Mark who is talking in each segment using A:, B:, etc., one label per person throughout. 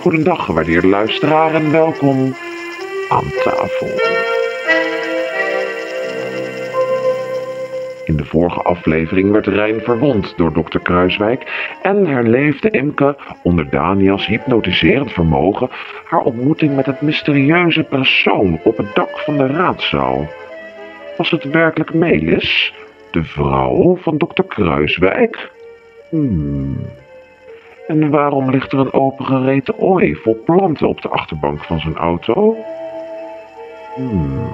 A: Goedendag, gewaardeerde luisteraar en welkom aan tafel. In de vorige aflevering werd Rijn verwond door dokter Kruiswijk en herleefde Imke onder Daniels hypnotiserend vermogen haar ontmoeting met het mysterieuze persoon op het dak van de raadzaal. Was het werkelijk Melis, de vrouw van dokter Kruiswijk? Hmm. En waarom ligt er een opengereten ooi vol planten op de achterbank van zijn auto? Hmm.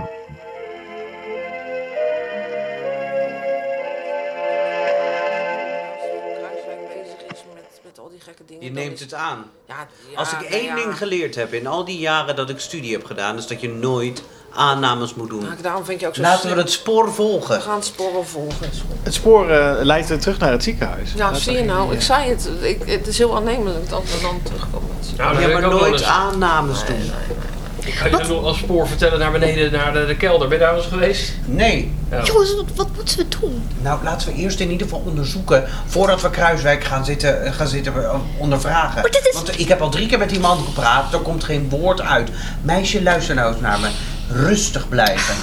B: Als Kruiswijk bezig is met, met al die gekke dingen.
C: Je
B: dan
C: neemt
B: is-
C: het aan.
B: Ja, ja,
C: Als ik
B: nou
C: één
B: ja.
C: ding geleerd heb in al die jaren dat ik studie heb gedaan, is dat je nooit aannames moet doen.
B: Nou, daarom vind ik je ook zo
C: Laten we
B: slim.
C: het spoor volgen.
B: We gaan sporen volgen. is goed.
D: Het spoor eh, leidt weer terug naar het ziekenhuis.
B: Nou,
D: Dat
B: zie je
D: is-
B: nou, ik zei het. Ik, het is heel aannemelijk dat we dan terugkomen.
E: Nou,
C: Ja,
E: dat wil
C: maar
E: ik ook wel
C: nooit
E: eens.
C: aannames doen.
E: Ik kan je dat nog als spoor vertellen naar beneden, naar de, de kelder. Ben je daar wel eens geweest?
C: Nee.
F: Jongens, wat, wat moeten we doen?
C: Nou, laten we eerst in ieder geval onderzoeken voordat we Kruiswijk gaan zitten, gaan zitten eh, ondervragen.
F: Maar dit is-
C: Want ik heb al drie keer met die man gepraat, er komt geen woord uit. Meisje, luister nou eens naar me. Rustig blijven.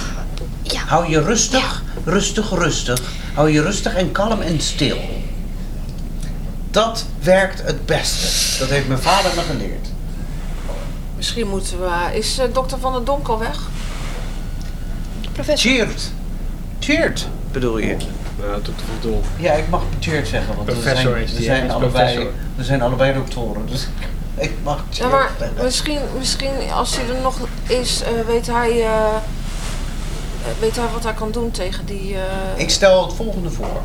F: Ja.
C: Hou je rustig, rustig, rustig. Hou je rustig en kalm en stil. Dat werkt het beste. Dat heeft mijn vader me geleerd.
B: Misschien moeten we. Is eh, dokter Van der Donk al weg?
F: Professor.
C: Cheert. Cheert, bedoel je?
E: Nou, tot de doel.
C: Ja, ik mag cheert zeggen, want we
E: Professor
C: zijn,
E: is die,
C: we
E: hè?
C: zijn
E: Is
C: allebei,
E: professor.
C: we zijn allebei doktoren, dus ik mag
B: Ja,
C: cheert
B: maar
C: zeggen.
B: misschien, misschien als hij er nog is, eh, weet, hij, eh, eh, weet hij wat hij kan doen tegen die. eh,
C: Ik stel het volgende voor.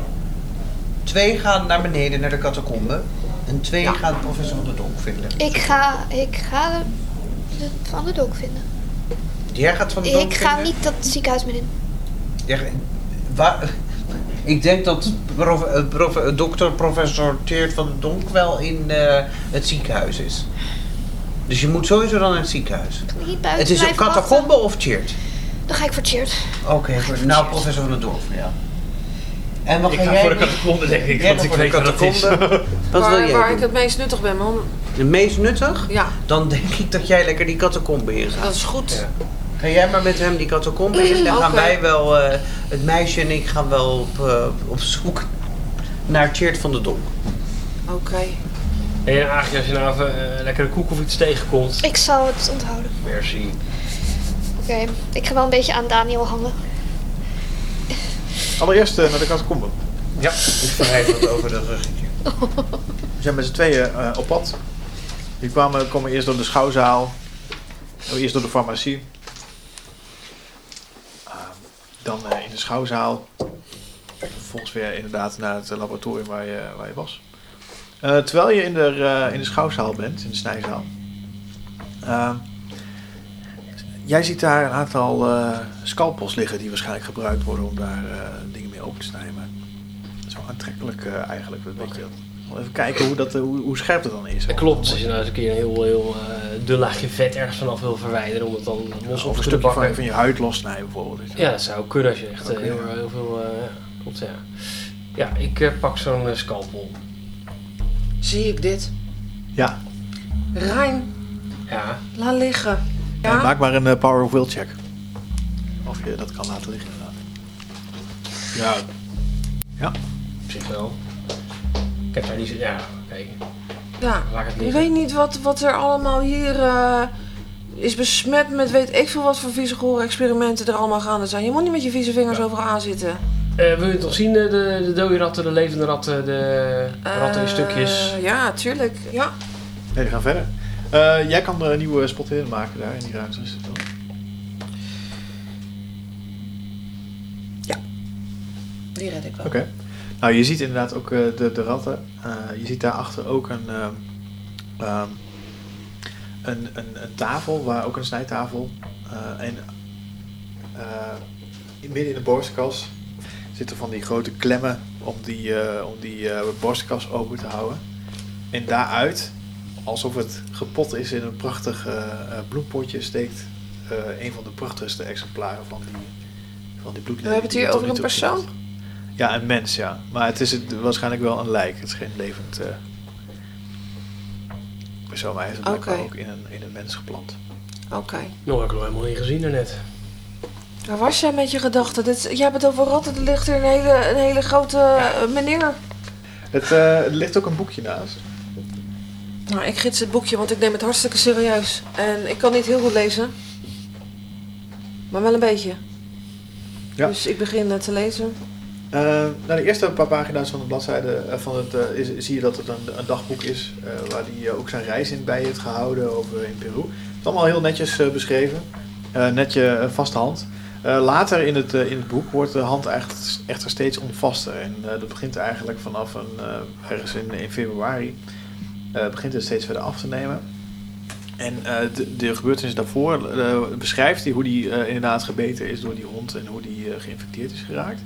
C: Twee gaan naar beneden, naar de catacombe. En twee
B: Ja.
C: gaan professor van der Donk vinden.
F: Ik ga, ik ga de van de dok vinden.
C: Jij gaat van de Donk
F: Ik ga
C: vinden?
F: niet dat ziekenhuis meer in.
C: Jij- waar- ik denk dat prof, eh, prof- eh, dokter professor Teert van der Donk wel in eh, het ziekenhuis is. Dus je moet sowieso dan naar het ziekenhuis.
F: Ik kan niet buiten
C: Het is een
F: blijven wachten.
C: catacombe of Teert?
F: Dan ga ik voor Cheert.
C: Oké, voor- nou professor van der Donk, ja. En wat
E: Ik
C: ga
E: ga
C: jij
E: voor de
C: doen?
E: catacombe, denk ik,
C: Jij
E: want
C: gaat
E: ik
C: voor de
E: weet wat dat is.
C: catacombe. Wat
B: waar
C: wil jij
B: waar
C: doen?
B: ik het meest nuttig ben. want-
C: De meest nuttig?
B: Ja,
C: Dan denk ik dat jij lekker die catacombe in gaat.
B: dat is goed.
C: Ja. Ga jij maar met hem die catacombe in. Dan gaan
B: Oké.
C: wij wel, eh, het meisje en ik gaan wel op, eh, op zoek naar Tjeerd van de Donk.
B: Oké.
E: En eigenlijk als je nou even eh, lekkere koek of iets tegenkomt.
F: Ik zal het onthouden.
E: Merci.
F: Oké, ik ga wel een beetje aan Daniel hangen.
D: Allereerst eh, naar de catacombe.
E: Ja.
C: Ik vergeet wat over de ruggetje.
D: We zijn met z'n tweeën eh, op pad. Die kwamen, komen eerst door de schouwzaal. eh, Eerst door de farmacie. Ehm, dan eh, in de schouwzaal. Vervolgens weer inderdaad naar het eh, laboratorium waar je, waar je was. Eh, terwijl je in de, eh, in de schouwzaal bent, in de snijzaal. ehm, jij ziet daar een aantal eh scalpels liggen die waarschijnlijk gebruikt worden om daar eh, dingen mee open te snijden. Maar het is wel aantrekkelijk eh, eigenlijk. Dat weet je wel. Wel Even kijken hoe, dat, eh, hoe, hoe scherp dat dan is.
E: Dat klopt, als je nou eens een keer een heel, heel eh, dun laagje vet ergens vanaf wil verwijderen om het dan los
D: Of
E: op
D: een
E: te
D: stukje van,
E: bakken.
D: van je huid lossnijden bijvoorbeeld.
E: Ja, dat zou kunnen als je echt eh,
D: Oké,
E: heel,
D: ja.
E: heel veel... eh, ja, klopt, ja. Ja, ik eh, pak zo'n eh, scalpel.
B: Zie ik dit?
D: Ja.
B: Rijn,
E: Ja.
B: laat liggen. Ja?
D: Eh, maak maar een eh, power of will check. Of je dat kan laten liggen inderdaad.
E: Ja.
D: Ja.
E: Op zich wel. Ik heb daar niet zo... Ja, oké.
B: Ja,
E: Laat ik het
B: je
E: liggen.
B: weet niet wat, wat er allemaal hier eh, is besmet met weet ik veel wat voor vieze gore experimenten er allemaal gaande zijn. Je moet niet met je vieze vingers overal aan zitten.
E: Eh, wil je het nog zien, eh, de, de dode ratten, de levende ratten, de ratten in
B: Eh,
E: stukjes?
B: Ja, tuurlijk. Ja.
D: Nee, we gaan verder. Eh, jij kan er een nieuwe spot in maken daar in die ruimte. Is het wel.
B: Die red ik wel.
D: Oké. Nou, je ziet inderdaad ook eh, de, de ratten. Eh, je ziet daarachter ook een, ehm, ehm, een, een, een tafel, waar, ook een snijtafel. Eh, en eh, in- midden in de borstkas zitten van die grote klemmen om die, eh, om die eh, borstkas open te houden. En daaruit, alsof het gepot is in een prachtig eh, eh, bloempotje, steekt eh, een van de prachtigste exemplaren van die, van die bloedlelie
B: We hebben het
D: die
B: hier
D: tot nu
B: over een
D: toe gezien
B: persoon?
D: had. Ja, een mens, ja. Maar het is het, waarschijnlijk wel een lijk. Het is geen levend. eh. persoon, maar hij is blijkbaar
B: Oké.
D: ook in een, in een mens geplant.
B: Oké.
E: Nou, heb ik nog helemaal niet gezien daarnet.
B: Waar was jij met je gedachten? Dit, jij hebt het over ratten, er ligt hier een hele, een hele grote eh, meneer.
D: Het, eh, er ligt ook een boekje naast.
B: Nou, ik gids het boekje, want ik neem het hartstikke serieus. En ik kan niet heel goed lezen. Maar wel een beetje.
D: Ja.
B: Dus ik begin eh, te lezen.
D: Eh, nou, de eerste paar pagina's van de bladzijde eh, van het, eh, is, zie je dat het een, een dagboek is eh, waar hij eh, ook zijn reis in bij heeft gehouden over in Peru. Het is allemaal heel netjes eh, beschreven, Eh, net je eh, vaste hand. Eh, later in het, eh, in het boek wordt de hand echt, echter steeds onvaster en eh, dat begint eigenlijk vanaf een, eh, ergens in, in februari. eh, begint het steeds verder af te nemen. En eh, de, de gebeurtenis daarvoor eh, beschrijft hij hoe hij inderdaad gebeten is door die hond en hoe die eh, geïnfecteerd is geraakt.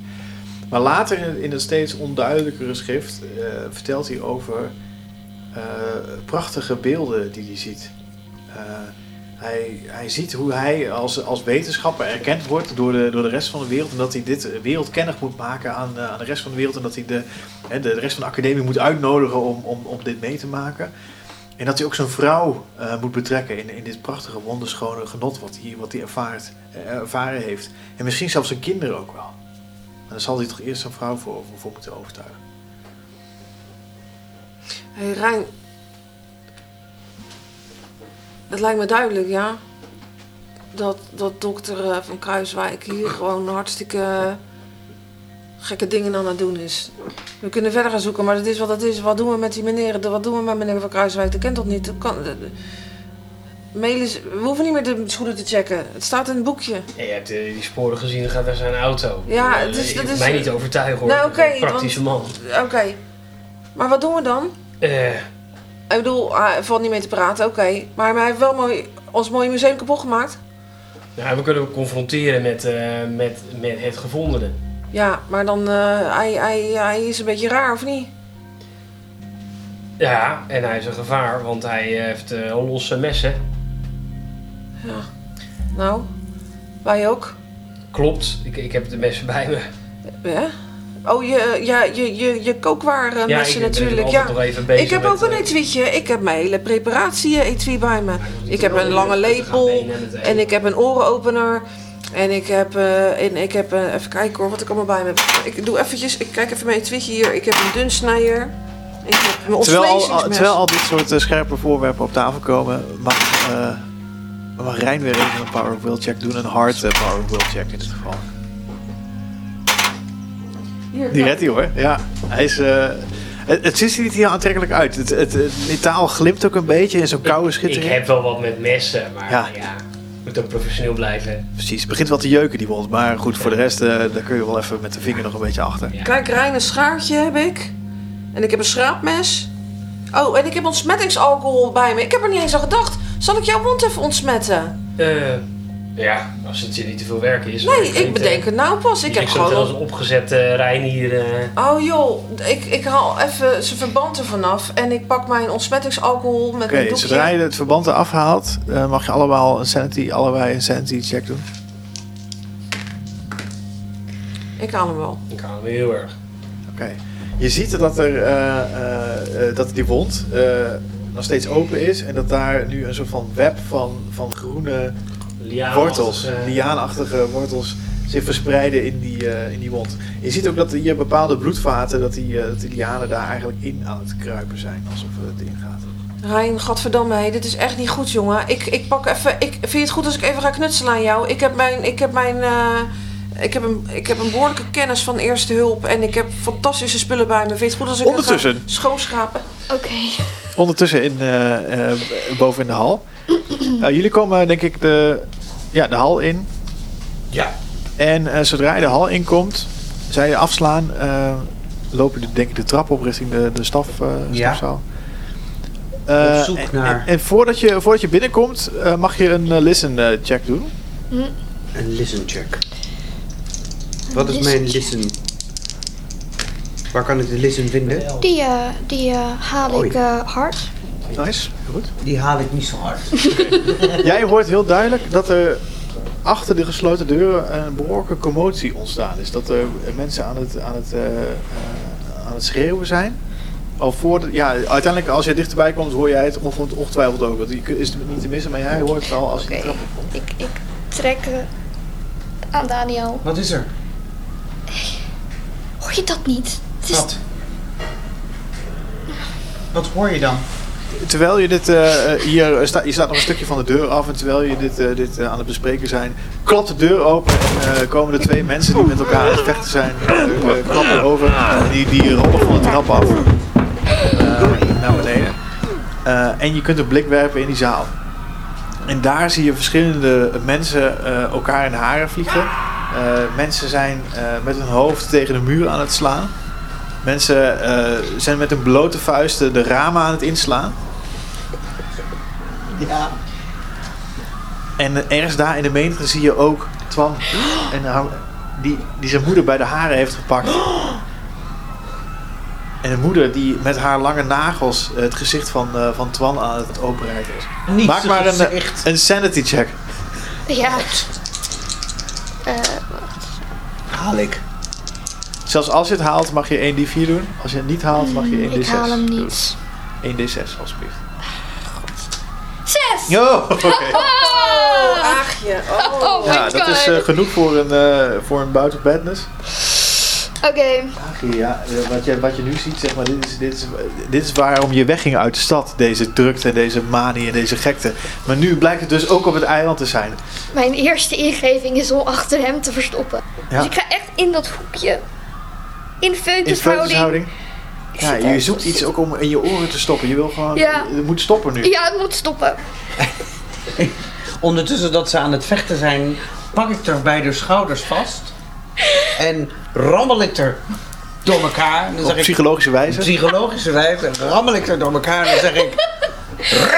D: Maar later in, in het steeds onduidelijkere schrift eh, vertelt hij over eh, prachtige beelden die hij ziet. Eh, hij, hij ziet hoe hij als, als wetenschapper erkend wordt door de, door de rest van de wereld. En dat hij dit wereldkennig moet maken aan, eh, aan de rest van de wereld. En dat hij de, hè, de, de rest van de academie moet uitnodigen om, om, om dit mee te maken. En dat hij ook zijn vrouw eh, moet betrekken in, in dit prachtige, wonderschone genot wat hij, wat hij ervaart, eh, ervaren heeft. En misschien zelfs zijn kinderen ook wel. Maar daar zal hij toch eerst zijn vrouw voor, voor moeten overtuigen.
B: Hé, hey, Rijn. Het lijkt me duidelijk, ja. Dat, dat dokter eh, van Kruiswijk hier gewoon hartstikke eh, gekke dingen aan het doen is. We kunnen verder gaan zoeken, maar dat is wat dat is. Wat doen we met die meneer? De- Wat doen we met meneer van Kruiswijk? Dat kent dat niet. Dat kan, de- de- Melis, we hoeven niet meer de schoenen te checken. Het staat in het boekje.
E: Ja, je hebt eh, die sporen gezien, dan gaat daar zijn auto.
B: Ja,
E: Eh,
B: het is-
E: je
B: dat
E: hoeft
B: is-
E: mij niet te overtuigen hoor.
B: Nou,
E: Ik ben
B: oké,
E: een praktische man.
B: Oké. Maar wat doen we dan?
E: Eh,
B: Ik bedoel, hij valt niet mee te praten, oké. Maar hij heeft wel mooi, ons mooie museum kapot gemaakt.
E: nou, we kunnen hem confronteren met, eh, met, met het gevondene.
B: Ja, maar dan, eh, hij, hij, hij is een beetje raar, of niet?
E: Ja, en hij is een gevaar, want hij heeft eh, losse messen.
B: Nou, wij ook.
E: Klopt, ik, ik heb de messen bij me.
B: Ja? Oh, je, ja, je, je, je kookwaar eh, messen
E: ik ben
B: natuurlijk,
E: altijd
B: ja.
E: nog even bezig
B: Ik heb
E: met,
B: ook een
E: eh,
B: etuietje. Ik heb mijn hele preparatie-etui bij me. Ik heb een lange lepel
E: eh.
B: en ik heb een orenopener. En ik heb, eh, en ik heb eh, even kijken hoor, wat ik allemaal bij me heb. Ik doe eventjes, ik kijk even mijn etuietje hier. Ik heb een dunsnijer. Ik heb mijn
D: Terwijl al, al-
B: ontslezingsmes.
D: terwijl al dit soort eh, scherpe voorwerpen op tafel komen, mag, eh, mag Rijn weer even een power of will check doen. Een hard eh, power of will check in dit geval.
B: Hier,
D: Die
B: kijk.
D: redt hij hoor. Ja, hij is... eh, het, het ziet er niet heel aantrekkelijk uit. Het, het, het metaal glimt ook een beetje in zo'n koude
E: Ik
D: schittering.
E: heb wel wat met messen, maar
D: Ja.
E: ja, moet ook professioneel blijven.
D: Precies, het begint wel te jeuken die wond. Maar goed, voor de rest eh, daar kun je wel even met de vinger nog een beetje achter.
E: Ja.
B: Kijk, Rijn, een schaartje heb ik. En ik heb een schraapmes. Oh, en ik heb ontsmettingsalcohol bij me. Ik heb er niet eens aan gedacht. Zal ik jouw wond even ontsmetten?
E: Eh, ja, als het je niet te veel werk is.
B: Nee, ik bedenk het nou pas. Ik heb
E: Ik zat
B: gewoon...
E: als opgezet eh Rijn hier. eh,
B: Oh joh, ik, ik haal even zijn verband ervan af. En ik pak mijn ontsmettingsalcohol met
D: Oké,
B: een doekje.
D: zodra je het verband eraf haalt, eh, mag je allemaal een sanity, allebei een sanity check doen.
B: Ik haal hem wel.
E: ik hou hem heel erg.
D: Oké. Je ziet dat, er, eh, eh, eh, dat die wond eh, nog steeds open is en dat daar nu een soort van web van, van groene
E: Liaan,
D: wortels,
E: eh,
D: liaanachtige wortels, zich verspreiden in die, eh, in die wond. Je ziet ook dat hier bepaalde bloedvaten, dat die, eh, dat die lianen daar eigenlijk in aan het kruipen zijn, alsof het ingaat.
B: Rijn, gadverdamme, hé, dit is echt niet goed, jongen. Ik, ik pak even... Ik, vind je het goed als ik even ga knutselen aan jou? Ik heb mijn... Ik heb mijn eh, ik heb, een, ik heb een behoorlijke kennis van eerste hulp en ik heb fantastische spullen bij me. Vind je het goed als ik het ga
D: Ondertussen.
B: schoonschrapen?
F: Oké.
D: Ondertussen in, eh, eh, boven in de hal. Eh, jullie komen denk ik de, ja, de hal in.
E: Ja.
D: En eh, zodra je de hal inkomt, zij je afslaan, eh, loop je de, denk ik de trap op richting de, de staf, eh
C: Ja.
D: stafzaal. Eh,
C: Op zoek
D: en-
C: naar-
D: En, en voordat, je, voordat je binnenkomt, eh, mag je een eh, listen eh, check doen.
C: Een listen check. Wat is mijn listen? Waar kan ik de listen vinden?
F: Die, eh, die eh, haal
C: Oei.
F: ik eh, hard.
D: Nice, goed.
C: Die haal ik niet zo hard.
D: Jij hoort heel duidelijk dat er achter de gesloten deuren een behoorlijke commotie ontstaan is. Dat er mensen aan het, aan het, eh, eh, aan het schreeuwen zijn. al voor... de- ja, uiteindelijk als jij dichterbij komt, hoor jij het onge- ongetwijfeld ook. Want die kun- is niet te missen, maar jij hoort het al als je
F: Oké.
D: de trap op komt.
F: Ik, ik trek eh, aan Daniel.
C: Wat is er?
F: Hoor je dat niet? Het is
C: Wat? Wat hoor je dan?
D: Terwijl je dit eh, eh, hier eh, sta, je staat nog een stukje van de deur af en terwijl je dit, eh, dit eh, aan het bespreken zijn, klapt de deur open en eh, komen er twee mensen die met elkaar aan het vechten zijn, eh, eh, klappen over. Die, die rollen van de trap af eh, naar beneden. Eh, en je kunt een blik werpen in die zaal. En daar zie je verschillende mensen eh, elkaar in de haren vliegen. Eh, mensen zijn eh, met hun hoofd tegen de muur aan het slaan. Mensen eh, zijn met hun blote vuisten de ramen aan het inslaan.
C: Ja.
D: En ergens daar in de menigte zie je ook Twan. En haar- die, die zijn moeder bij de haren heeft gepakt. En de moeder die met haar lange nagels het gezicht van, eh, van Twan aan het openreiken is.
C: Niet
D: Maak maar een, eh,
C: echt.
D: een sanity check.
F: Ja. Eh,
C: Haal ik.
D: Zelfs als je het haalt mag je 1d4 doen. Als je het niet haalt mag je 1d6
F: ik haal hem
D: doen.
F: niet.
D: 1d6 alsjeblieft.
F: Zes!
D: Oh, oké.
F: Ah!
B: Aagje. Oh.
F: Oh my
D: Ja, dat is eh,
F: god.
D: genoeg voor een, eh voor een bout of badness.
F: Oké.
D: Ja, eh, wat je, wat je nu ziet, zeg maar, dit is, dit, is, dit is waarom je wegging uit de stad. Deze drukte, en deze manie en deze gekte. Maar nu blijkt het dus ook op het eiland te zijn.
F: Mijn eerste ingeving is om achter hem te verstoppen.
D: Ja.
F: Dus ik ga echt in dat hoekje. In
D: In
F: feutushouding.
D: feutushouding. Ja, je zoekt iets ook om in je oren te stoppen. Je wil gewoon...
F: Ja.
D: Je moet stoppen nu.
F: Ja, het moet stoppen.
C: Ondertussen dat ze aan het vechten zijn, pak ik er bij de schouders vast. En rammel ik er door elkaar. En dan
D: Op
C: zeg ik,
D: psychologische wijze.
C: psychologische wijze, rammel ik er door elkaar. En dan zeg ik,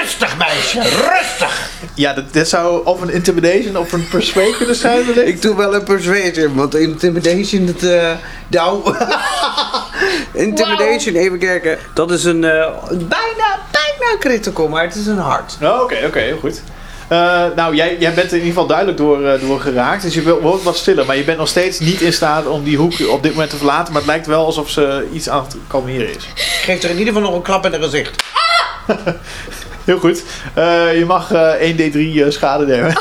C: rustig meisje, rustig.
D: Ja, dat, dat zou of een intimidation of een persuade kunnen zijn. wellicht.
C: Ik doe wel een persuasion, want intimidation, dat, eh nou, intimidation, even kijken. Dat is een, eh, bijna, bijna critical, maar het is een hard.
D: Oh, Oké, oké, heel goed. Eh, nou, jij, jij bent er in ieder geval duidelijk door, eh, door geraakt. Dus je wil- wordt wat stiller. Maar je bent nog steeds niet in staat om die hoek op dit moment te verlaten. Maar het lijkt wel alsof ze iets aan het kalmeren is.
C: Ik geef er in ieder geval nog een klap in het gezicht.
D: Heel goed. Eh, je mag eh, 1d3 eh, schade nemen.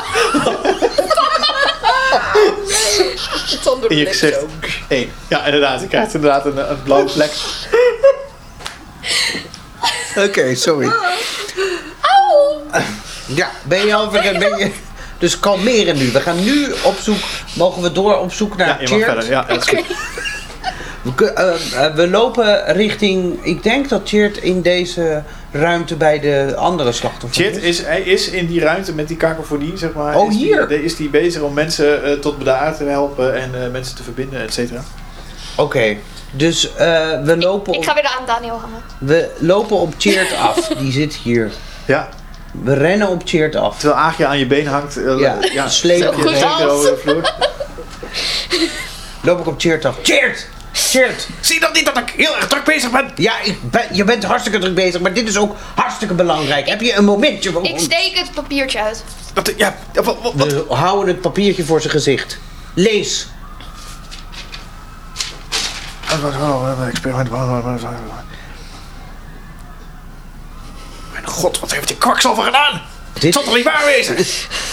B: Zonder
D: In je
B: blik
D: gezicht.
B: zo.
D: 1. Ja, inderdaad. Je krijgt inderdaad een, een blauwe plek.
C: Oké, sorry.
F: Oh.
C: Ja, ben je al ver- ben je... Dus kalmeren nu. We gaan nu op zoek. Mogen we door op zoek naar
D: Ja, je mag
C: Tjeerd?
D: verder. Ja, dat is goed.
C: We, ku- eh, eh, we lopen richting. Ik denk dat Tjeerd in deze ruimte bij de andere slachtoffer
D: Chit is, hij is in die ruimte met die kakofonie, zeg maar.
C: Oh,
D: is die-
C: hier.
D: de- is die bezig om mensen eh, tot bedaren te helpen en eh, mensen te verbinden, et cetera.
C: Oké, dus eh, we, lopen
F: Ik ga
C: op,
F: weer aan Daniel hangen.
C: we lopen op Tjeerd af. Die zit hier.
D: Ja,
C: We rennen op Tjeerd af.
D: Terwijl Aagje aan je been hangt, eh,
C: Ja, sleep
D: zet
C: je
D: je
C: mee.
D: zeker over de vloer.
C: Loop ik op Tjeerd af. Tjeerd! Tjeerd! Zie dat niet dat ik heel erg druk bezig ben? Ja, ik ben, je bent hartstikke druk bezig, maar dit is ook hartstikke belangrijk. Heb je een momentje voor
F: Ik
C: ons?
F: steek het papiertje uit.
D: Dat, ja, ja, wat, wat- wat-
C: We houden het papiertje voor zijn gezicht. Lees.
D: wat- wat- wat- wat- experiment. wat- wat- wat- wat- wat- Mijn god, wat heeft die kwakzalver gedaan?
C: Dit-
D: Het zal toch niet waar wezen?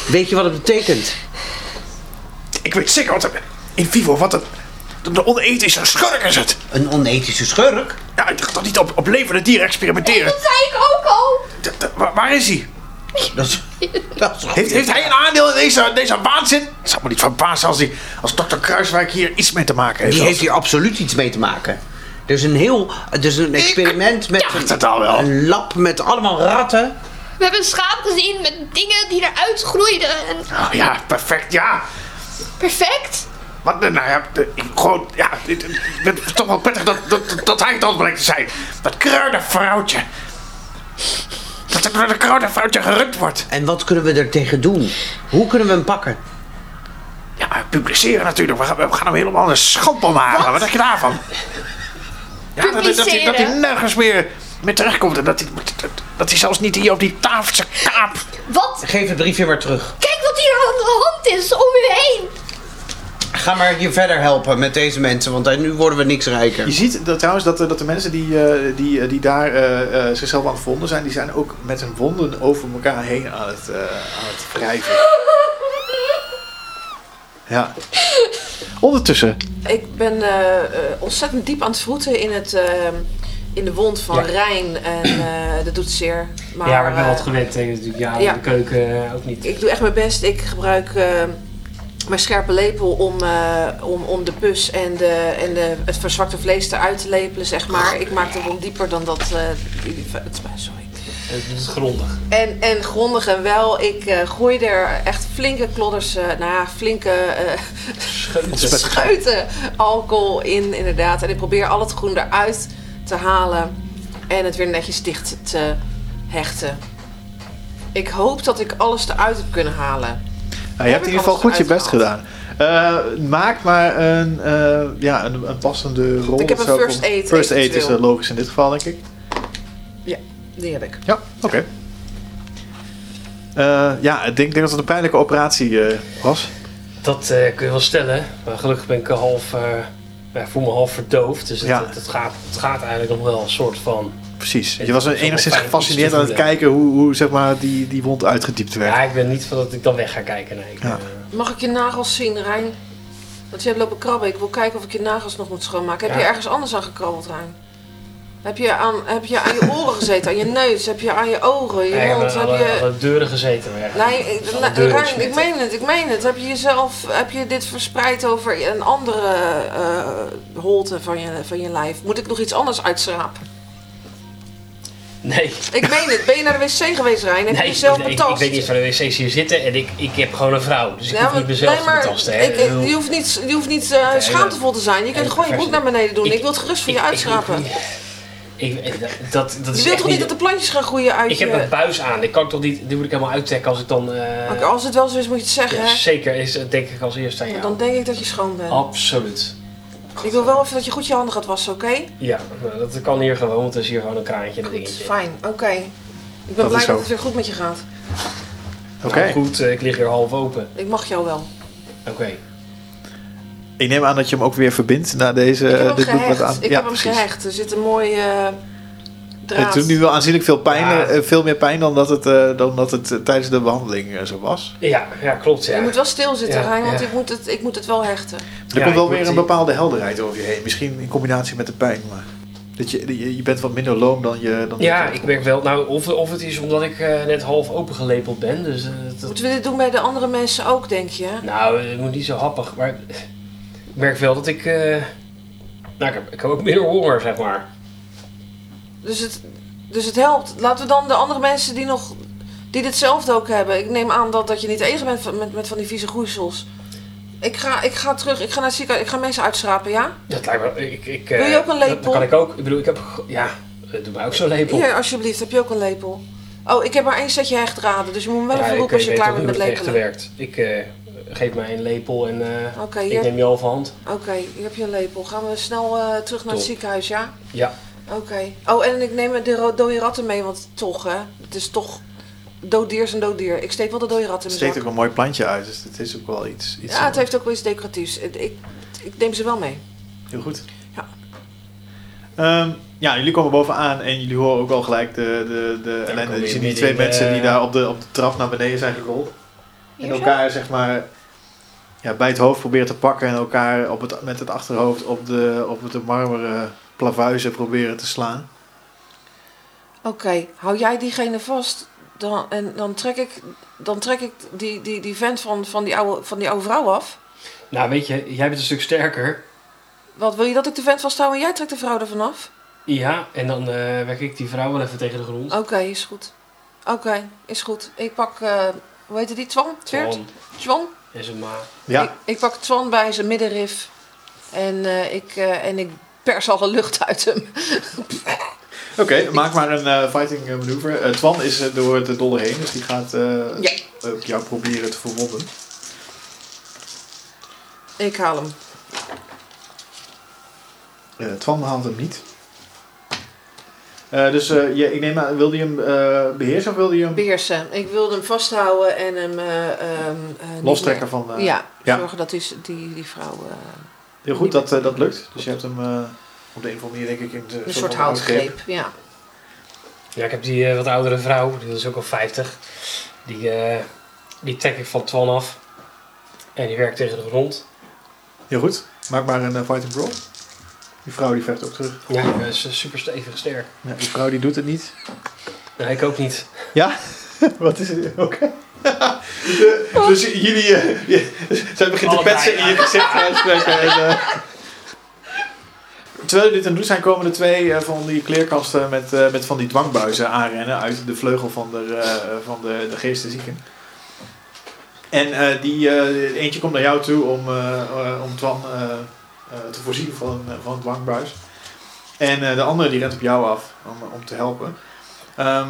C: Weet je wat het betekent?
D: Ik weet zeker wat er... In vivo, wat een... Een onethische schurk is het.
C: Een onethische schurk?
D: Ja, ik gaat toch niet op, op levende dieren experimenteren?
F: zei ik ook al.
D: D- d- waar, waar is hij?
C: Dat is, dat is
D: Heeft, heeft hij een aandeel in deze, deze waanzin? Het zou me niet verbazen als, hij, als dokter Kruiswijk hier iets mee te maken heeft.
C: Die heeft hier absoluut iets mee te maken. Er is een heel... Er is een experiment met...
D: dacht
C: een-
D: het al wel.
C: Een lab met allemaal ratten.
F: We hebben een schaap gezien met dingen die eruit groeiden. En
D: Oh ja, perfect, ja.
F: perfect.
D: Wat, nou ja, de- ik, gewoon, ja, dit- ik ben toch wel prettig dat, dat, dat hij het al blijkt te zijn. Dat kruidenvrouwtje. Dat er door dat kruidenvrouwtje gerund wordt.
C: En wat kunnen we er tegen doen? Hoe kunnen we hem pakken?
D: Ja, publiceren natuurlijk. We gaan, we gaan hem helemaal een schandpaal maken. Wat denk je daarvan? Ja, dat, dat, dat, hij, dat hij
F: Publiceren?
D: nergens meer mee terechtkomt. En dat hij, dat, dat hij zelfs niet hier op die tafeltse kaap...
F: Wat?
C: Geef het briefje maar terug.
F: Kijk wat hier aan de hand is om u heen.
C: ga maar je verder helpen met deze mensen, want eh, nu worden we niks rijker.
D: Je ziet dat, trouwens dat, eh, dat de mensen die, eh, die, eh, die daar eh, eh, zichzelf aan het verwonden zijn, die zijn ook met hun wonden over elkaar heen aan het, eh, aan het wrijven. Ja. Ondertussen.
B: Ik ben eh, eh, ontzettend diep aan het vroeten in, het, eh, in de wond van
E: Ja.
B: Rijn. En eh, dat doet zeer. Maar,
E: ja, maar ik ben wat
B: eh,
E: gewend tegen natuurlijk. Ja,
B: ja.
E: de keuken eh, ook niet.
B: Ik doe echt mijn best. Ik gebruik eh, mijn scherpe lepel om, eh, om, om de pus en, de, en de, het verzwakte vlees eruit te lepelen, zeg maar. Ik maak de wond dieper dan dat... eh, die- het- sorry.
E: Het Eh, is grondig.
B: En, en grondig en wel. Ik eh, gooi er echt flinke klodders, eh, nou ja, flinke eh,
D: Ontzettend.
B: scheuten alcohol in, inderdaad. En ik probeer al het groen eruit te halen en het weer netjes dicht te hechten. Ik hoop dat ik alles eruit heb kunnen halen.
D: Nou, je hebt in ieder geval goed je best gedaan. Eh, maak maar een, eh, ja, een, een passende rol.
B: Ik heb een
D: of zo voor-
B: first aid
D: First aid is
B: eventueel.
D: eh, logisch in dit geval, denk ik.
B: Die heb ik.
D: Ja, oké. Eh, ja, ik denk, denk dat het een pijnlijke operatie eh, was.
E: Dat eh, kun je wel stellen. Maar gelukkig ben ik een half. eh, ja, ik voel me half verdoofd. Dus het,
D: Ja.
E: het, het gaat, het gaat eigenlijk nog wel een soort van.
D: Precies.
E: Het
D: Je was
E: is wel
D: enigszins
E: fijn om
D: gefascineerd
E: iets
D: aan
E: te
D: het
E: voelen.
D: kijken hoe, hoe zeg maar, die, die wond uitgediept werd.
E: Ja, ik ben niet van dat ik dan weg ga kijken. Nee, ik,
D: Ja.
E: eh,
B: Mag ik je nagels zien, Rijn? Want je hebt lopen krabben. Ik wil kijken of ik je nagels nog moet schoonmaken. Heb
E: Ja.
B: je ergens anders aan gekrabbeld, Rijn? Heb je aan, heb je, aan je oren gezeten, aan je neus? Heb je aan je ogen, je
E: nee, ik
B: mond?
E: heb
B: Heb
E: alle,
B: je...
E: alle deuren gezeten. Maar ja,
B: Nee,
E: ik-
B: ik,
E: alle
B: nee,
E: deuren
B: Rijn, ik
E: gesmeten.
B: meen het, ik meen het. Heb je jezelf, heb je dit verspreid over een andere eh, holte van je, van je lijf? Moet ik nog iets anders uitschrapen?
E: Nee,
B: Ik meen het. Ben je naar de wc geweest, Rijn? Heb je
E: nee,
B: jezelf
E: nee, ik,
B: betast?
E: ik weet niet van de wc's hier zitten en ik, ik heb gewoon een vrouw. Dus ik
B: Ja,
E: hoef
B: maar-
E: niet mezelf
B: nee, maar
E: te betasten. hè.
B: ik-
E: Ik bedoel,
B: je hoeft niet, je hoeft niet eh,
E: nee.
B: schaamtevol te zijn. Je kunt gewoon je broek naar beneden doen. Ik, wil het gerust voor je
E: ik- ik-
B: uitschrapen.
E: Ik, ik- dat, dat
B: je
E: is
B: wilt
E: echt
B: toch niet dat de plantjes gaan groeien uit
E: Ik
B: je...
E: heb een buis aan. Ik kan toch niet, die moet ik helemaal uittrekken als ik dan... eh,
B: Oké, als het wel zo is, moet Oh, je het zeggen,
E: ja, Oh,
B: hè?
E: zeker is het denk ik als eerste aan jou.
B: Dan denk ik dat je schoon bent.
E: Absoluut.
B: Ik wil wel even dat je goed je handen gaat wassen, oké?
E: Ja, nou, dat kan hier gewoon, want er is hier gewoon een kraantje en een
B: Goed,
E: dingetje. Nou,
B: fijn, oké. Ik
D: Dat
B: ben
D: is
B: blij
D: zo.
B: dat het weer goed met je gaat.
D: Oké.
E: Goed, eh, ik lig hier half open.
B: Ik mag jou
D: Eh,
B: wel.
E: Oké.
D: Ik neem aan dat je hem ook weer verbindt na deze... eh,
B: ik heb hem
D: dit bloed wat
B: gehecht.
D: aan-
B: Ik
D: ja,
B: heb hem
D: precies.
B: gehecht. Er zit een mooi eh draad.
D: Het doet nu wel aanzienlijk veel pijn,
E: Ja.
D: eh, veel meer pijn dan dat het, eh, dan dat het eh, tijdens de behandeling eh, zo was.
E: Ja, ja, klopt ja.
B: Je moet wel stil zitten,
E: Ja,
B: Rijn, want
E: ja.
B: ik, moet het, ik moet het wel hechten.
D: Er
E: Ja,
D: komt wel
E: ik
D: weer
E: moet
D: een
E: die-
D: bepaalde helderheid over je heen. Misschien in combinatie met de pijn, maar... Dat je, je, je bent wat minder loom dan je... Dan
E: Ja, ik merk wel. Nou, of, of het is omdat ik eh, net half open gelepeld ben, dus... eh, dat-
B: Moeten we dit doen bij de andere mensen ook, denk je? hè?
E: Nou, het moet niet zo happig, maar ik merk wel dat ik... eh, Nou, ik heb, ik heb ook minder honger, zeg maar.
B: Dus het, dus het helpt. Laten we dan de andere mensen die nog... Die ditzelfde ook hebben. Ik neem aan dat, dat je niet eens bent van- met, met van die vieze groeisels. Ik ga, ik ga terug. Ik ga naar het ziekenhuis. Ik ga mensen uitschrapen, ja?
E: Dat lijkt me... Ik, ik,
B: Wil je
E: eh,
B: ook een
E: dat-
B: lepel?
E: Dat kan ik ook. Ik bedoel, ik heb... ge- Ja, eh, doe mij ook zo'n lepel.
B: Hier, alsjeblieft. Heb je ook een lepel? Oh, ik heb maar één setje hechtdraden. Dus je moet me wel
E: Ja, eh,
B: even roepen als je
E: weet
B: klaar
E: ook
B: bent met
E: hoe dat echt
B: lepelen.
E: werkt. Ik eh, geef mij een lepel en eh,
B: Oké,
E: ik
B: hier,
E: neem je overhand.
B: Oké, hier heb je een lepel. Gaan we snel eh, terug naar het
E: Top.
B: ziekenhuis, ja?
E: Ja.
B: Oké. Oh, en ik neem de ro- dode ratten mee, want toch, hè? Het is toch... Dood dier is een dood dier. Ik steek wel de dode ratten
D: Het
B: in mijn
D: steekt
B: zak.
D: ook een mooi plantje uit, dus het is ook wel iets... iets
B: Ja, het heeft ook wel iets decoratiefs. Ik, ik, ik neem ze wel mee.
D: Heel goed.
B: Ja.
D: Ehm, ja, jullie komen bovenaan en jullie horen ook al gelijk de, de, de ellende.
E: kom
D: Je
E: je
D: ziet die
E: midden
D: twee
E: in,
D: mensen die
E: eh,
D: daar op de, op de trap naar beneden zijn gerold. En
F: Hier zo?
D: elkaar zeg maar ja, bij het hoofd proberen te pakken en elkaar op het, met het achterhoofd op de, op de marmeren plavuizen proberen te slaan.
B: Oké, hou jij diegene vast dan, en dan trek ik, dan trek ik die, die, die vent van, van, die oude, van die oude vrouw af.
E: Nou, weet je, jij bent een stuk sterker.
B: Wat, wil je dat ik de vent vasthoud en jij trekt de vrouw ervan af?
E: Ja, en dan eh werk ik die vrouw wel even tegen de grond.
B: Oké, is goed. Oké, is goed. Ik pak, eh, hoe heette die, Twan? Tweert?
E: Twan
B: Twan?
E: en zijn ma.
D: Ja,
B: Ik, ik pak Twan bij zijn middenrif en, eh, ik, eh, en ik pers alle lucht uit hem.
D: oké, maak maar een eh, fighting eh, maneuver. Eh, Twan is eh, door de dolle heen, dus die gaat eh,
B: Ja.
D: ook jou proberen te verwonden.
B: Ik haal hem.
D: Eh, Twan haalt hem niet. Eh, dus eh, je, ik neem aan, wilde je hem eh, beheersen of wilde je hem
B: Beersen. Ik wilde hem vasthouden en hem... eh, ehm, eh, niet
D: lostrekken van... eh,
B: meer- ja,
D: ja.
B: zorgen dat die, die, die vrouw... eh,
D: Heel goed, dat, eh, dat lukt. Dus je hebt hem eh, op de een of andere manier denk ik in de,
B: een soort houtgreep, ja.
E: Ja, ik heb die eh, wat oudere vrouw, die is ook al 50. Die, eh, die trek ik van Twan af. En die werkt tegen de grond.
D: Heel goed, maak maar een eh, fighting roll. Die vrouw die vecht ook terug.
E: Ja, dat is eh, super stevig sterk.
D: Ja, die vrouw die doet het niet.
E: Nee, ik ook niet.
D: Ja? Wat is het? Oké. Eh, dus jullie, eh, je- zij begint te
E: Allebei,
D: petsen in je gezicht te uitspreken. En, eh, terwijl jullie dit aan het doen zijn, komen er twee eh, van die kleerkasten met, eh, met van die dwangbuizen aanrennen uit de vleugel van de, eh, van de, de geesteszieken. En eh, die, eh, eentje komt naar jou toe om, eh, eh, om Twan eh, eh, te voorzien van, eh, van een dwangbuis. En eh, de andere die rent op jou af om, om te helpen. Ehm,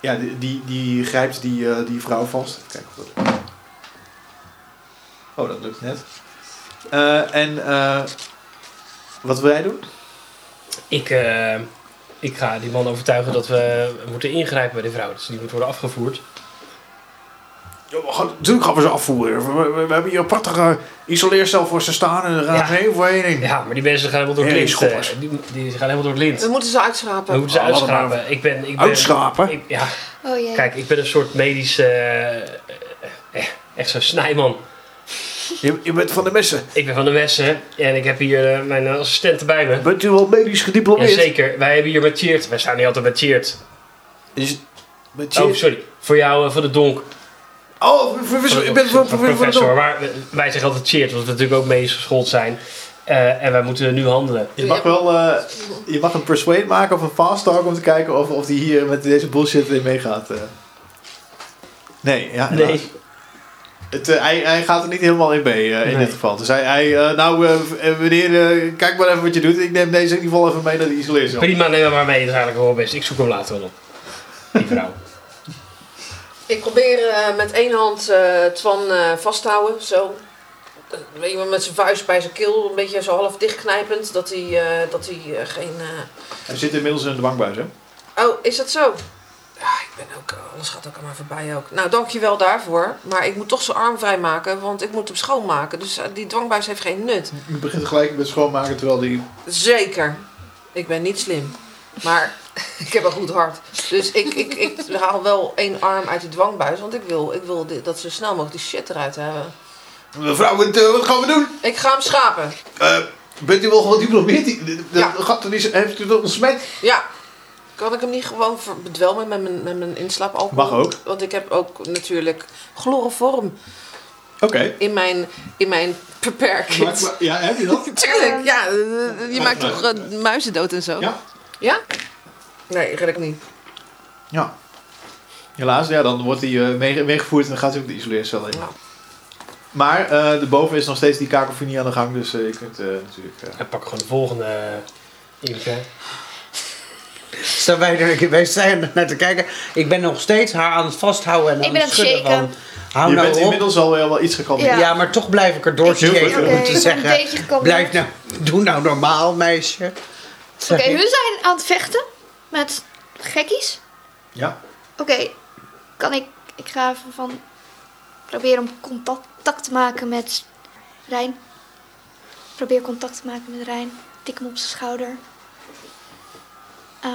D: ja, die, die, die grijpt die, eh, die vrouw vast. Kijk of dat lukt. Oh, dat lukt net. Eh, en eh, wat wil jij doen?
E: Ik, eh, ik ga die man overtuigen dat we moeten ingrijpen bij de vrouw. Dus die moet worden afgevoerd.
D: Natuurlijk gaan we ze afvoeren. We, hebben hier een prachtige isoleercel voor ze staan en er
E: gaat Ja.
D: geen voorheen.
E: Ja, maar die mensen gaan helemaal door het
D: Hey,
E: lint. eh,
D: schoppers.
E: die, die gaan helemaal door het lint.
B: We moeten ze
E: We
B: uitschrapen.
E: moeten ze
D: Oh, laat het maar
E: uitschrapen. Ik ben, ik ben,
D: Uitschrapen?
E: ik- ja,
F: Oh jee.
E: kijk, ik ben een soort medisch... eh, eh, eh, echt zo'n snijman.
D: Je, je bent van de messen.
E: Ik ben van de Westen en ik heb hier eh, mijn assistenten bij me.
D: Bent u wel medisch gediplomeerd?
E: Jazeker, wij hebben hier met Cheert. Wij staan hier altijd met Cheert.
D: Is- met je-
E: Oh, sorry. Voor jou, eh, voor de donk.
D: Oh, voor- voor- voor- ik ben
E: Voor
D: van
E: de
D: professor.
E: professor. Maar eh, wij zeggen altijd Cheert, omdat we natuurlijk ook medisch geschoold zijn. Eh, en wij moeten nu handelen.
D: Je mag wel eh, je mag een persuade maken of een fast talk om te kijken of, of die hier met deze bullshit in meegaat. eh. Nee, ja.
E: Nee.
D: helaas. Het, eh, hij, hij gaat er niet helemaal in mee eh, in
E: Nee.
D: dit geval. Dus hij, hij eh, nou eh, eh, meneer, eh, kijk maar even wat je doet. Ik neem deze in ieder geval even mee naar de isoleercel.
E: Prima, neem hem maar mee. Dat is eigenlijk wel best. Ik zoek hem later wel op. Die vrouw.
B: Ik probeer eh, met één hand eh, Twan eh, vast te houden, zo. Eh, Weet je, wel, met zijn vuist bij zijn keel, een beetje zo half dichtknijpend, dat hij, eh, dat hij eh, geen... eh,
D: Hij zit inmiddels in de dwangbuis, hè?
B: Oh, is dat zo? Ja, ik ben ook... eh, Alles gaat ook aan mij voorbij ook. Nou, dankjewel daarvoor. Maar ik moet toch zijn arm vrijmaken, want ik moet hem schoonmaken. Dus eh, die dwangbuis heeft geen nut.
D: Je begint gelijk met schoonmaken terwijl die...
B: Zeker. Ik ben niet slim. Maar ik heb een goed hart. Dus ik, ik, ik haal wel één arm uit die dwangbuis, want ik wil, ik wil dit- dat ze zo snel mogelijk die shit eruit hebben.
D: Mevrouw, wat, eh, wat gaan we doen?
B: Ik ga hem schapen.
D: Eh, bent u wel gediplomeerd? Die- die- Dat
B: Ja.
D: gat er niet, heeft u dat ontsmet?
B: Ja. Kan ik hem niet gewoon ver- bedwelmen met mijn, met mijn inslaapalcohol?
D: Mag ook.
B: Want ik heb ook natuurlijk chloroform
D: Oké.
B: in mijn, in mijn
D: Maak
B: beperking.
D: maar- Ja, heb je dat?
B: Tuurlijk, ja. eh, Je maakt toch eh, muizen dood en zo?
D: Ja.
B: Ja? Nee, red ik niet.
D: Ja. Helaas, ja, dan wordt hij eh, mee- meegevoerd en dan gaat hij ook de isoleercel in.
B: Ja.
D: Maar eh daarboven is nog steeds die kakofonie aan de gang, dus eh, je kunt eh, natuurlijk... eh,
E: En pak gewoon de volgende. eh, Inke.
C: Staan wij, er, wij zijn er naar te kijken. Ik ben nog steeds haar aan het vasthouden en
F: Ik
C: aan
F: ben
C: het
F: aan het
C: schudden.
F: shaken.
C: Van, hou
D: je
C: nou
D: bent
C: op.
D: inmiddels al eh, wel iets gekalmeerd.
F: Ja.
C: Ja. maar toch blijf ik er door
D: Heel goed,
C: shaken om
D: heel
F: goed.
C: te
F: Oké, een
C: zeggen.
F: beetje gekalmeerd.
C: Blijf nou, doe nou normaal, meisje.
F: Oké,
C: Zeg ik.
F: hun zijn aan het vechten met gekkies.
D: Ja.
F: Oké, kan ik... Ik ga even van... Probeer om contact te maken met Rijn. Probeer contact te maken met Rijn. Tik hem op zijn schouder. Ehm,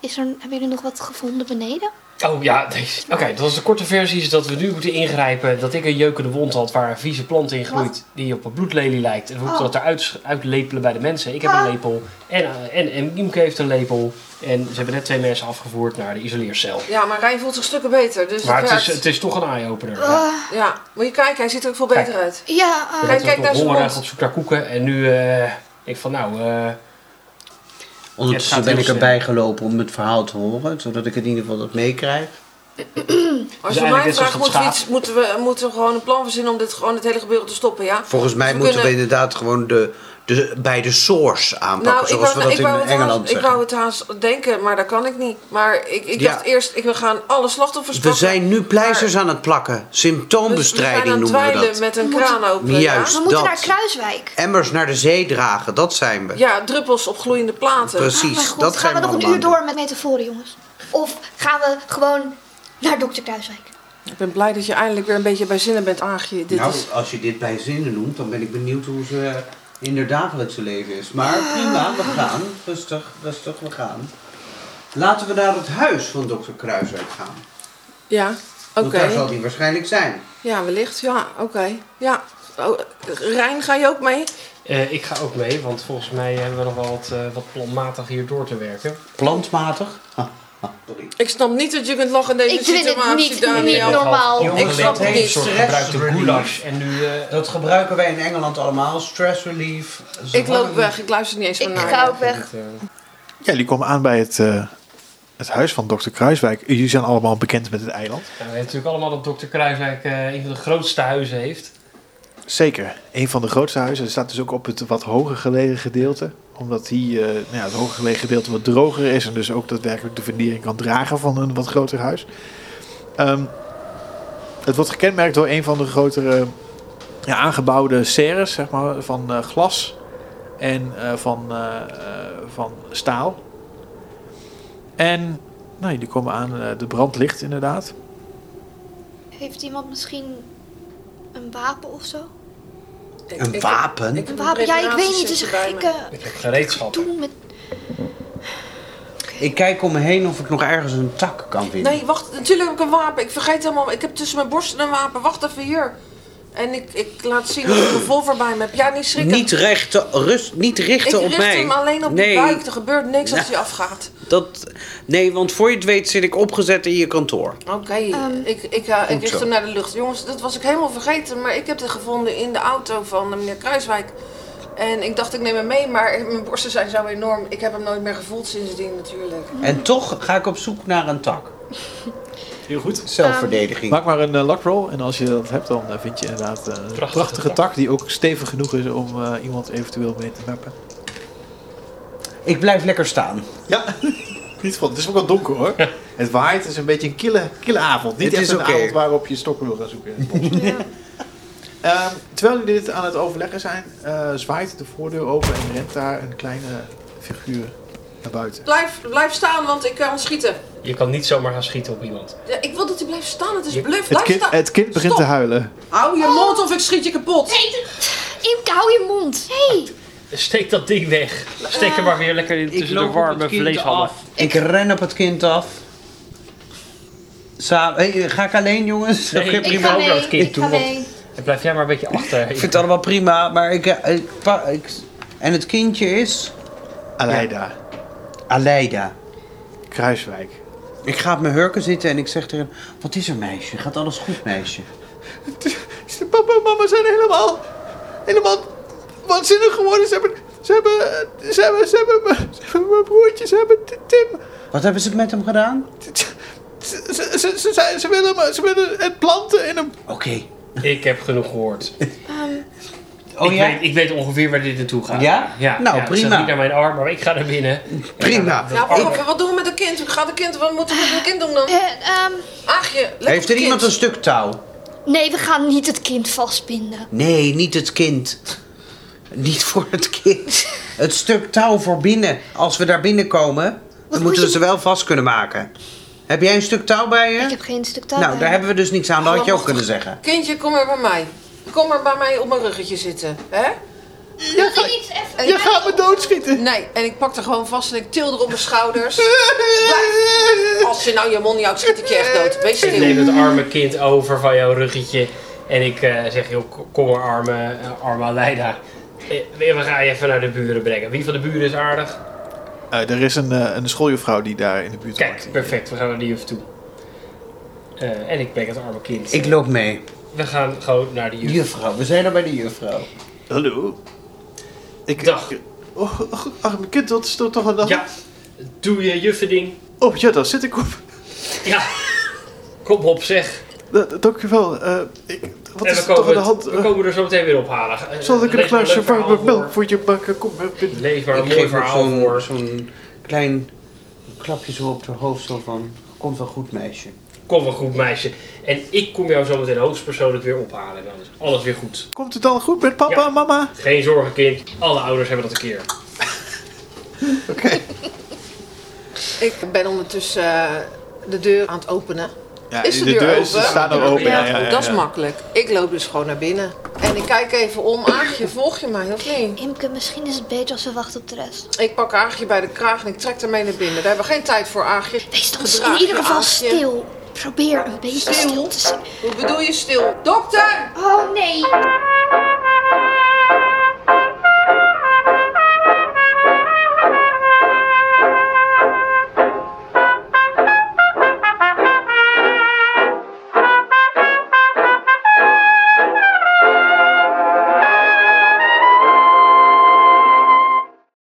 F: is er, hebben jullie nog wat gevonden beneden?
E: Oh ja, deze. Oké, dat was de korte versie. Is dat we nu moeten ingrijpen. Dat ik een jeukende wond had waar een vieze plant in groeit. Die op een bloedlelie lijkt. En we moeten
F: Oh.
E: dat eruit sch- uitlepelen bij de mensen. Ik heb een
F: Ah.
E: lepel. En, eh, en, en Imke heeft een lepel. En ze hebben net twee mensen afgevoerd naar de isoleercel.
B: Ja, maar Rijn voelt zich stukken beter. Dus
E: Maar
B: het
E: het
B: werkt.
E: is, eh, het is toch een eye-opener. Ja.
F: Ah,
B: Ja, moet je kijken, hij ziet er ook veel beter
E: Kijk.
B: uit.
F: ja, eh,
E: We
B: Kijk,
E: kijk, kijk
B: naar
E: naar
B: zijn mond.
E: op zoek naar koeken. En nu eh, ik van nou, eh,
C: Ondertussen
E: Het gaat
C: ben ik
E: heel
C: erbij gelopen om het verhaal te horen, zodat ik in ieder geval dat meekrijg.
B: Als
E: Dus
B: je
E: eigenlijk
B: mij
E: net zoals
B: vraagt,
E: dat
B: moeten we,
E: schaap.
B: iets, moeten, we, moeten we gewoon een plan verzinnen om dit gewoon het hele gebeuren te stoppen, ja? Dus
C: Volgens mij
B: We
C: moeten we
B: kunnen- Nou,
C: inderdaad gewoon de, de, bij de source aanpakken,
F: Nou,
C: zoals we dat in
B: het
C: Engeland
B: haast, ik
C: zeggen.
B: wou het haast denken, maar dat kan ik niet. Maar ik, ik
C: Ja.
B: dacht eerst, ik wil gaan alle slachtoffers
C: we
B: pakken.
C: zijn nu pleisters aan het plakken.
B: Dus we zijn
C: Symptoombestrijding
B: aan het
C: noemen we
B: dweilen
C: dat.
B: met een
F: Moet-
B: kraan open.
F: We
C: Juist.
F: moeten
C: dat.
F: naar Kruiswijk.
C: Emmers naar de zee dragen, dat zijn we.
B: Ja? ja, druppels op gloeiende platen.
F: Oh mijn
C: Precies,
F: god,
C: dat
F: gaan
C: zijn
F: we nog een
C: allemaal
F: uur door met metaforen, jongens? Of gaan we gewoon naar dokter Kruiswijk?
B: Ik ben blij dat je eindelijk weer een beetje bij zinnen bent, Aagje. Dit
C: nou,
B: is...
C: als je dit bij zinnen noemt, dan ben ik benieuwd hoe ze in haar dagelijkse leven is. Maar prima, we gaan. Rustig, rustig, we gaan. Laten we naar het huis van dokter Kruiswijk gaan.
B: Ja, oké.
C: Want daar zal die waarschijnlijk zijn.
B: Ja, wellicht. Ja, oké. Ja. Oh, Rijn, ga je ook mee?
E: Eh, ik ga ook mee, want volgens mij hebben we nog wel wat, eh, wat planmatig hier door te werken.
C: Plantmatig. Ha, ha, sorry.
B: Ik snap niet dat je kunt lachen in deze
F: Ik vind het
B: situatie,
F: niet-
B: Daniel.
F: niet normaal.
E: Jongen,
B: Ik snap
E: met
B: het
E: een
B: niet.
E: soort
C: Stress
E: gebruikte
C: relief.
E: goulash en nu... eh,
C: Dat gebruiken wij in Engeland allemaal. Stress relief. Ze
B: Ik loop
C: hangen-
B: weg, ik luister niet eens meer
F: Ik
C: Nou
B: naar
F: ga
B: je.
F: ook weg.
E: eh,
D: Ja, jullie komen aan bij het, eh, het huis van dokter Kruiswijk. Jullie zijn allemaal bekend met het eiland.
E: Ja, we weten natuurlijk allemaal dat Dr. Kruiswijk eh, een van de grootste huizen heeft.
D: Zeker, een van de grootste huizen. Het staat dus ook op het wat hoger gelegen gedeelte. Omdat die, eh, nou ja, het hoger gelegen gedeelte wat droger is. En dus ook daadwerkelijk de fundering kan dragen van een wat groter huis. Ehm, het wordt gekenmerkt door een van de grotere ja, aangebouwde serres, zeg maar, van eh, glas en eh, van, eh, eh, van staal. En nou, jullie komen aan, eh, de brand ligt inderdaad.
F: Heeft iemand misschien een wapen of zo?
B: Ik-
C: Een
B: ik-
C: wapen?
B: ik heb
F: Een
B: een
F: wapen? Ja, ik weet niet. Het is een
B: reparatiesetje bij me.
F: gekke
E: Ik heb gereedschappen.
F: doen met...
C: Ik kijk om me heen of ik nog ergens een tak kan vinden.
B: Nee, wacht. Natuurlijk heb ik een wapen. Ik vergeet helemaal. Ik heb tussen mijn borsten een wapen. Wacht even hier. En ik, ik laat zien dat ik een revolver bij me heb. Ja, niet schrikken.
C: Niet, rechten, rust, niet
B: ik
C: richten op
B: richt
C: mij.
B: hem alleen op
C: nee,
B: je buik. Er gebeurt niks als
C: Nou.
B: hij afgaat.
C: Dat, nee, want voor je het weet zit ik opgezet in je kantoor.
B: Oké,
F: Ehm,
B: ik, ik, eh, ik
C: goed zo.
B: richt hem naar de lucht. Jongens, dat was ik helemaal vergeten. Maar ik heb het gevonden in de auto van eh, meneer Kruiswijk. En ik dacht, ik neem hem mee. Maar mijn borsten zijn zo enorm. Ik heb hem nooit meer gevoeld sindsdien natuurlijk.
C: En toch ga ik op zoek naar een tak.
D: Heel goed.
C: Zelfverdediging.
D: Maak maar een eh, luckroll en als je dat hebt, dan eh, vind je inderdaad eh, een prachtige,
E: tak.
D: tak die ook stevig genoeg is om eh, iemand eventueel mee te nappen.
C: ik blijf lekker staan.
D: Ja, niet van. Het is ook wel donker hoor. Het waait, het is een beetje een kille, kille avond. Niet
C: Dit
D: echt
C: is
D: een
C: oké.
D: avond waarop je stokken wil gaan zoeken in het bos. Ehm, terwijl jullie dit aan het overleggen zijn, eh, zwaait de voordeur open en rent daar een kleine figuur naar buiten.
B: Blijf, blijf staan, want ik kan schieten.
E: Je kan niet zomaar gaan schieten op iemand.
B: Ja, ik wil dat hij blijft staan. Het is
E: Je-
B: bluff.
D: Het
B: Blijf
D: kind,
B: staan.
D: het kind begint
B: Stop.
D: te huilen.
B: Hou je mond
F: Oh.
B: of ik schiet je kapot.
F: Imke, hou je mond. hey,
E: Steek dat ding weg. Steek hem maar weer lekker in tussen de warme vleeshallen.
C: Ik ren op het kind af. Sa hey, ga ik alleen, jongens?
E: Nee,
C: Oké, prima.
F: ik
E: prima
F: ga
E: ook naar
F: mee.
E: het kind
F: Ik
E: toe,
F: ga
E: want-
F: mee.
E: En blijf jij maar een beetje achter.
C: Ik vind het allemaal prima, maar ik, eh, ik, pa- ik... En het kindje is...
D: Aleida,
C: Aleida.
D: Kruiswijk.
C: Ik ga op mijn hurken zitten en ik zeg tegen hem... Wat is er, meisje? Gaat alles goed, meisje?
D: Papa en mama zijn helemaal, helemaal waanzinnig geworden. Ze hebben, ze hebben, ze hebben, ze hebben, mijn- ze hebben mijn broertje, ze hebben Ti- Tim.
C: Wat hebben ze met hem gedaan?
D: Ze, ze, ze, ze, zijn- ze willen, me- ze willen het planten in hem.
C: Oké.
E: Ik heb genoeg gehoord.
F: ehm,
C: Oh
E: ik,
C: ja?
E: weet, ik weet ongeveer waar dit naartoe gaat.
C: Ja?
E: ja
C: Nou,
E: ja, het staat
C: prima.
E: niet naar mijn arm, maar ik ga naar binnen.
B: Ja,
C: Prima.
D: nou,
B: wacht even, Nou, wat doen we met een kind? Gaat een kind? Wat moeten we met een kind doen dan?
F: eh, ehm,
B: Aagje, let
C: Heeft
B: op het
C: er iemand een
B: kind.
C: stuk touw?
F: nee, we gaan niet het kind vastbinden.
C: Nee, niet het kind. Niet voor het kind. Het stuk touw voor binnen. Als we daar binnenkomen, dan
F: moet
C: moeten we
F: je-
C: ze wel vast kunnen maken. Heb jij een stuk touw bij je?
F: Ik heb geen stuk touw
C: nou,
F: bij.
C: daar hebben we dus niks aan. Dat had je ook kunnen zeggen.
B: Kindje, kom maar bij mij. Kom maar bij mij op mijn ruggetje zitten. Hè?
D: Je,
F: Iets even. Eh,
D: je gaat me doodschieten.
B: Nee, en ik pak er gewoon vast en ik til er op mijn schouders. Als je nou je mond niet houdt, schiet ik je echt dood. Wees
E: Ik
B: stil.
E: neem het arme kind over van jouw ruggetje. En ik eh, zeg, joh, ko- kom maar arme, eh, arme Leida. We gaan je even naar de buren brengen. Wie van de buren is aardig?
D: Eh, er is een, een schooljuffrouw die daar in de buurt
E: Kijk, perfect. We gaan naar die juf toe. Eh, en ik breng het arme kind.
C: Ik loop mee.
E: We gaan gewoon naar de juf.
C: Juffrouw, we zijn er bij de juffrouw.
D: Hallo. Ik,
E: Dag.
D: Oh, oh, arme kind, dat is toch toch een dag?
E: Ja, doe je juffending.
D: Oh ja, daar zit ik op.
E: Ja, kom op zeg.
D: d- dankjewel. eh ik, wat
E: en
D: is
E: we
D: er toch
E: komen,
D: aan de
E: het-
D: hand?
E: we
D: Eh,
E: komen er zo meteen weer ophalen. Eh,
D: Zal ik
E: lees
D: een
E: maar
D: glaasje
E: leuk verhaal
D: warme melk
E: voor.
D: voor je bakken? Kom maar binnen.
E: Lees maar een
C: ik
E: mooi
C: geef nog
E: verhaal
C: zo'n
E: voor.
C: zo'n klein klapje zo op haar hoofd zo van... Komt wel goed, meisje.
E: Kom wel goed, meisje. En ik kom jou zo meteen hoogstpersoonlijk weer ophalen. Dan is alles weer goed.
D: Komt het dan goed met papa
E: Ja.
D: en mama?
E: Geen zorgen, kind. Alle ouders hebben dat een keer.
D: Oké.
B: Ik ben ondertussen eh, de deur aan het openen.
D: Ja,
B: Is de
D: de
B: deur
D: deur is,
B: open?
D: staat nog
E: Ja,
D: open.
B: Ja,
D: Ja, ja, ja,
B: dat is
D: ja.
B: makkelijk. Ik loop dus gewoon naar binnen. En ik kijk even om. Aagje, volg je mij of niet?
F: Imke, misschien is het beter als we wachten op de rest.
B: Ik pak Aagje bij de kraag en ik trek ermee naar binnen. Daar hebben we geen tijd voor, Aagje.
F: Wees dan
B: Gedraag
F: in ieder
B: je,
F: geval
B: Aagje.
F: stil. Probeer een beetje
B: Stil?
F: stil te zijn.
B: Hoe bedoel je stil? Dokter!
F: Oh nee.